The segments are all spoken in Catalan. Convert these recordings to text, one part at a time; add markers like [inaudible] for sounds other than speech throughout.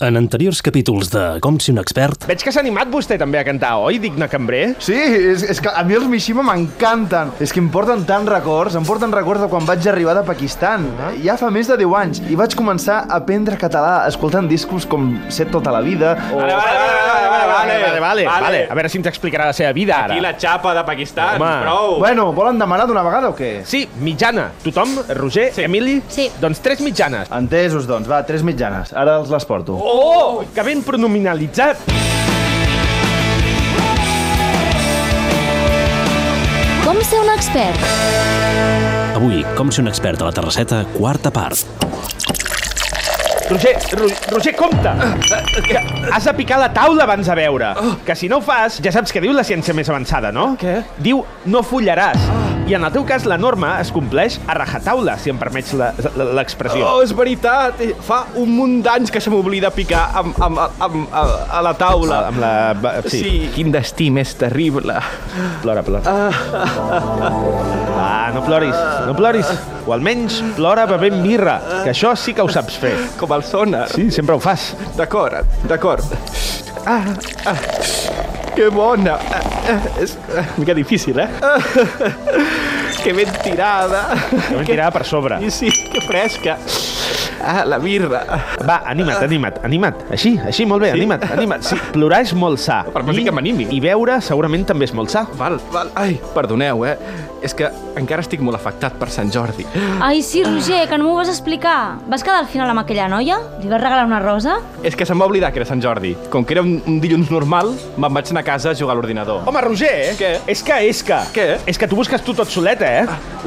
En anteriors capítols de Com si un expert, Veig que s'ha animat vostè també a cantar, oi, digne cambrer? Sí, és, és que a mi els Mishima m'encanten. És que em porten tants records, em porten records de quan vaig arribar de Pakistan. Ja fa més de 10 anys i vaig començar a aprendre català escoltant discos com Set tota la vida o... Vale, vale, vale, vale, vale, vale, vale, vale, vale. A veure si ens explicarà la seva vida, ara. Aquí la xapa de Pakistan, Home. prou. Bueno, volen demanar d'una vegada o què? Sí, mitjana. Tothom? Roger? Sí. Emili? Sí. Doncs tres mitjanes. Entesos, doncs. Va, tres mitjanes. Ara els les porto. Oh! Que ben pronominalitzat! Com ser un expert? avui Com si un expert a la Terrasseta, quarta part. Roger, Ro Roger, compte! Que has de picar la taula abans de veure. Que si no ho fas, ja saps què diu la ciència més avançada, no? Què? Diu, no follaràs. I en el teu cas, la norma es compleix a rajataula, si em permets la- la- l'expressió. Oh, és veritat, eh, fa un munt d'anys que se m'oblida picar amb, amb, amb, a, a la taula. Amb la... ba- sí. Quin destí més terrible. Plora, plora. Ah, no ploris, no ploris. O almenys plora bevent birra, que això sí que ho saps fer. Com el sonar. Sí, sempre ho fas. D'acord, d'acord. Ah, ah, que bona. Ah, ah, és una mica difícil, eh? [laughs] Ah, que ben tirada. Que ben tirada per sobre. Sí, sí, que fresca. Ah, la birra. Va, anima't, anima't, anima't. Així, així, molt bé, sí? anima't, anima't. Sí, plorar és molt sa. Per molt bé I- que m'animi. I veure segurament també és molt sa. Val, val. Ai, perdoneu, eh? És que encara estic molt afectat per Sant Jordi. Ai, sí, Roger, que no m'ho vas explicar. Vas quedar al final amb aquella noia? Li vas regalar una rosa? És que se'm va oblidar que era Sant Jordi. Com que era un, un dilluns normal, me'n vaig anar a casa a jugar a l'ordinador. Home, Roger, Què? és que, és que... Què? Ah. És que tu busques tu tot solet, eh?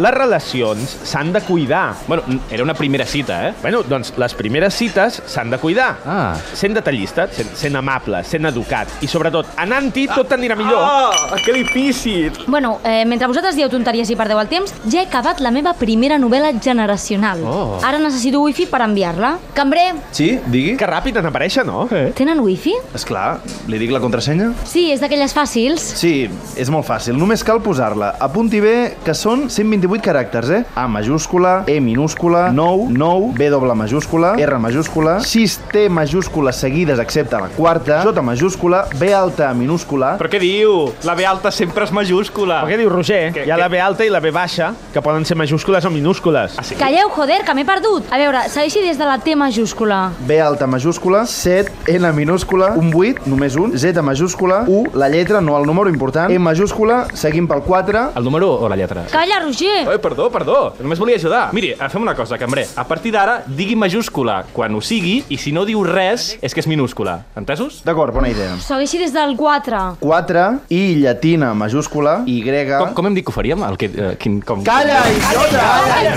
Les relacions s'han de cuidar. Bueno, n- era una primera cita, eh? Bueno, doncs les primeres cites s'han de cuidar. Ah. Sent detallista, sent, sent amable, sent educat i, sobretot, anant-hi, tot anirà millor. Ah, que difícil! Bueno, eh, mentre vosaltres dieu tonteries i perdeu el temps, ja he acabat la meva primera novel·la generacional. Oh. Ara necessito wifi per enviar-la. Cambrer, Sí? Digui? Que ràpid en aparèixer, no? Eh? tenen wifi? És clar, li dic la contrasenya? Sí, és d'aquelles fàcils. Sí, és molt fàcil. Només cal posar-la. Apunti bé que són 128 caràcters, eh? A majúscula, E minúscula, 9, 9, B doble majúscula, R majúscula, 6 T majúscules seguides excepte la quarta, J majúscula, B alta minúscula... Però què diu? La B alta sempre és majúscula. Però què diu Roger? Què- Hi ha la què- B alta i la B baixa, que poden ser majúscules o minúscules. sí? Calleu, joder, que m'he perdut. A veure, segueixi des de la T majúscula. B alta majúscula, 7, N minúscula, un 8, només un, Z majúscula, 1, la lletra, no el número important, E majúscula, seguim pel 4, El número o la lletra? Calla, Roger! Ai, perdó, perdó. Només volia ajudar. Miri, eh, fem una cosa, cambrer. A partir d'ara, digui majúscula quan ho sigui i si no diu res, és que és minúscula. Entesos? d'acord, bona idea. Segueixi des del 4. 4, I llatina majúscula, Y... Com, com hem dit que ho faríem? El que, eh, quin, com... Calla, idiota!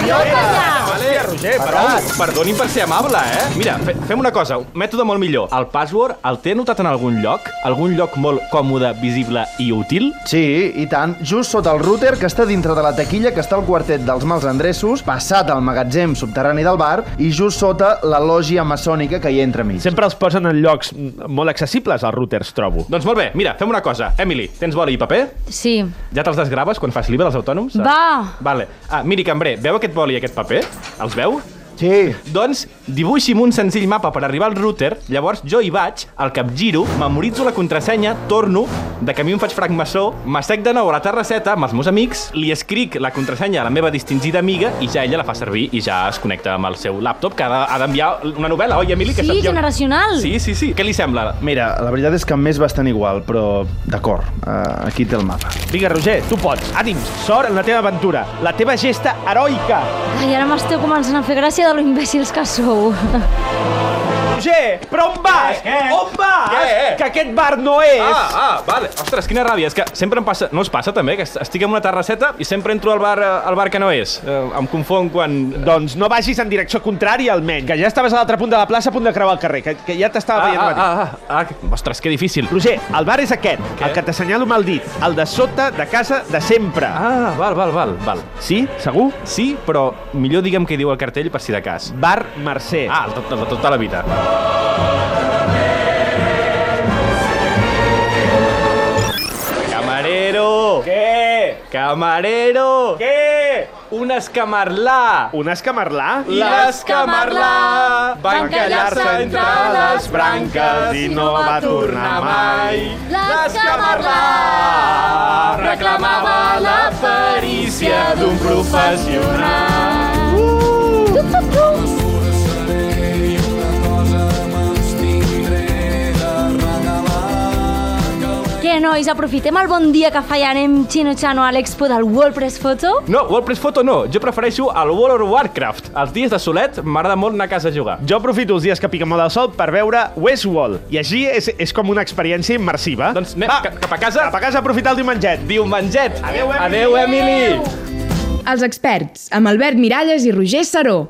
Idiota, ja! Vale, Roger, però... Perdoni per ser amable, eh? Mira, fe, fem una cosa, un mètode molt millor. El password el té anotat en algun lloc? Algun lloc molt còmode, visible i útil? Sí, i tant. Just sota el router que està dintre de la taquilla que està el quartet dels mals endreços, passat al magatzem subterrani del bar i just sota la lògia maçònica que hi entra mig. Sempre els posen en llocs mm, molt accessibles, els routers, trobo. Doncs molt bé, mira, fem una cosa. Emily, tens bola i paper? Sí. Ja te'ls desgraves quan fas l'IVA dels autònoms? Va. Vale. Ah, miri, cambrer, veu aquest boli i aquest paper? Els veu? Sí, Doncs dibuixi'm un senzill mapa per arribar al router, llavors jo hi vaig, al capgiro, memoritzo la contrasenya, torno, de camí em faig francmaçó, m'assec de nou a la terrasseta amb els meus amics, li escric la contrasenya a la meva distingida amiga i ja ella la fa servir i ja es connecta amb el seu laptop que ha de- ha d'enviar una novel·la, oi, Emili? Que Sí, s'envia- generacional. Sí, sí, sí. Què li sembla? mira, la veritat és que més bastant igual, però d'acord, uh, aquí té el mapa. Vinga, Roger, tu pots. Ànims, sort en la teva aventura. La teva gesta heroica. Ai, ara m'esteu començant a fer gràcia de lo imbècils que sou. Roger, però on vas? Què, què? On vas? Què? Que aquest bar no és. Ah, ah, vale. Ostres, quina ràbia. És que sempre em passa... No us passa, també? Que estic en una terrasseta i sempre entro al bar, eh, al bar que no és. Eh, em confon quan... Doncs no vagis en direcció contrària, almenys, que ja estaves a l'altre punt de la plaça a punt de creuar el carrer, que, que ja t'estava Ah, veient ah, venir. ah, ah, ah, ostres, que difícil. Roger, el bar és aquest, el que t'assenyalo amb el dit, el de sota de casa de sempre. Ah, val, val, val, val. Sí? Segur? Sí, però millor digue'm què diu el cartell per si de cas. Bar Mercè. Ah, el tot, el de tota la vida. Camarero! Què? Camarero! Què? Un escamarlà! Un escamarlà? I l'escamarlà van callar-se entre les branques i no va tornar mai. L'escamarlà reclamava la perícia d'un professional. Què, nois, aprofitem el bon dia que fa i anem xino-xano a l'expo del WordPress Photo? No, WordPress Photo no. Jo prefereixo el World of Warcraft. Els dies de solet m'agrada molt anar a casa a jugar. Jo aprofito els dies que pica molt el sol per veure Westworld, i així és, és com una experiència immersiva. Doncs anem Va, ca- cap a casa. cap a casa a aprofitar el diumenget. Diumenget. Adeu, Emily. Adeu, Emily. Els experts, amb Albert Miralles i Roger Saró.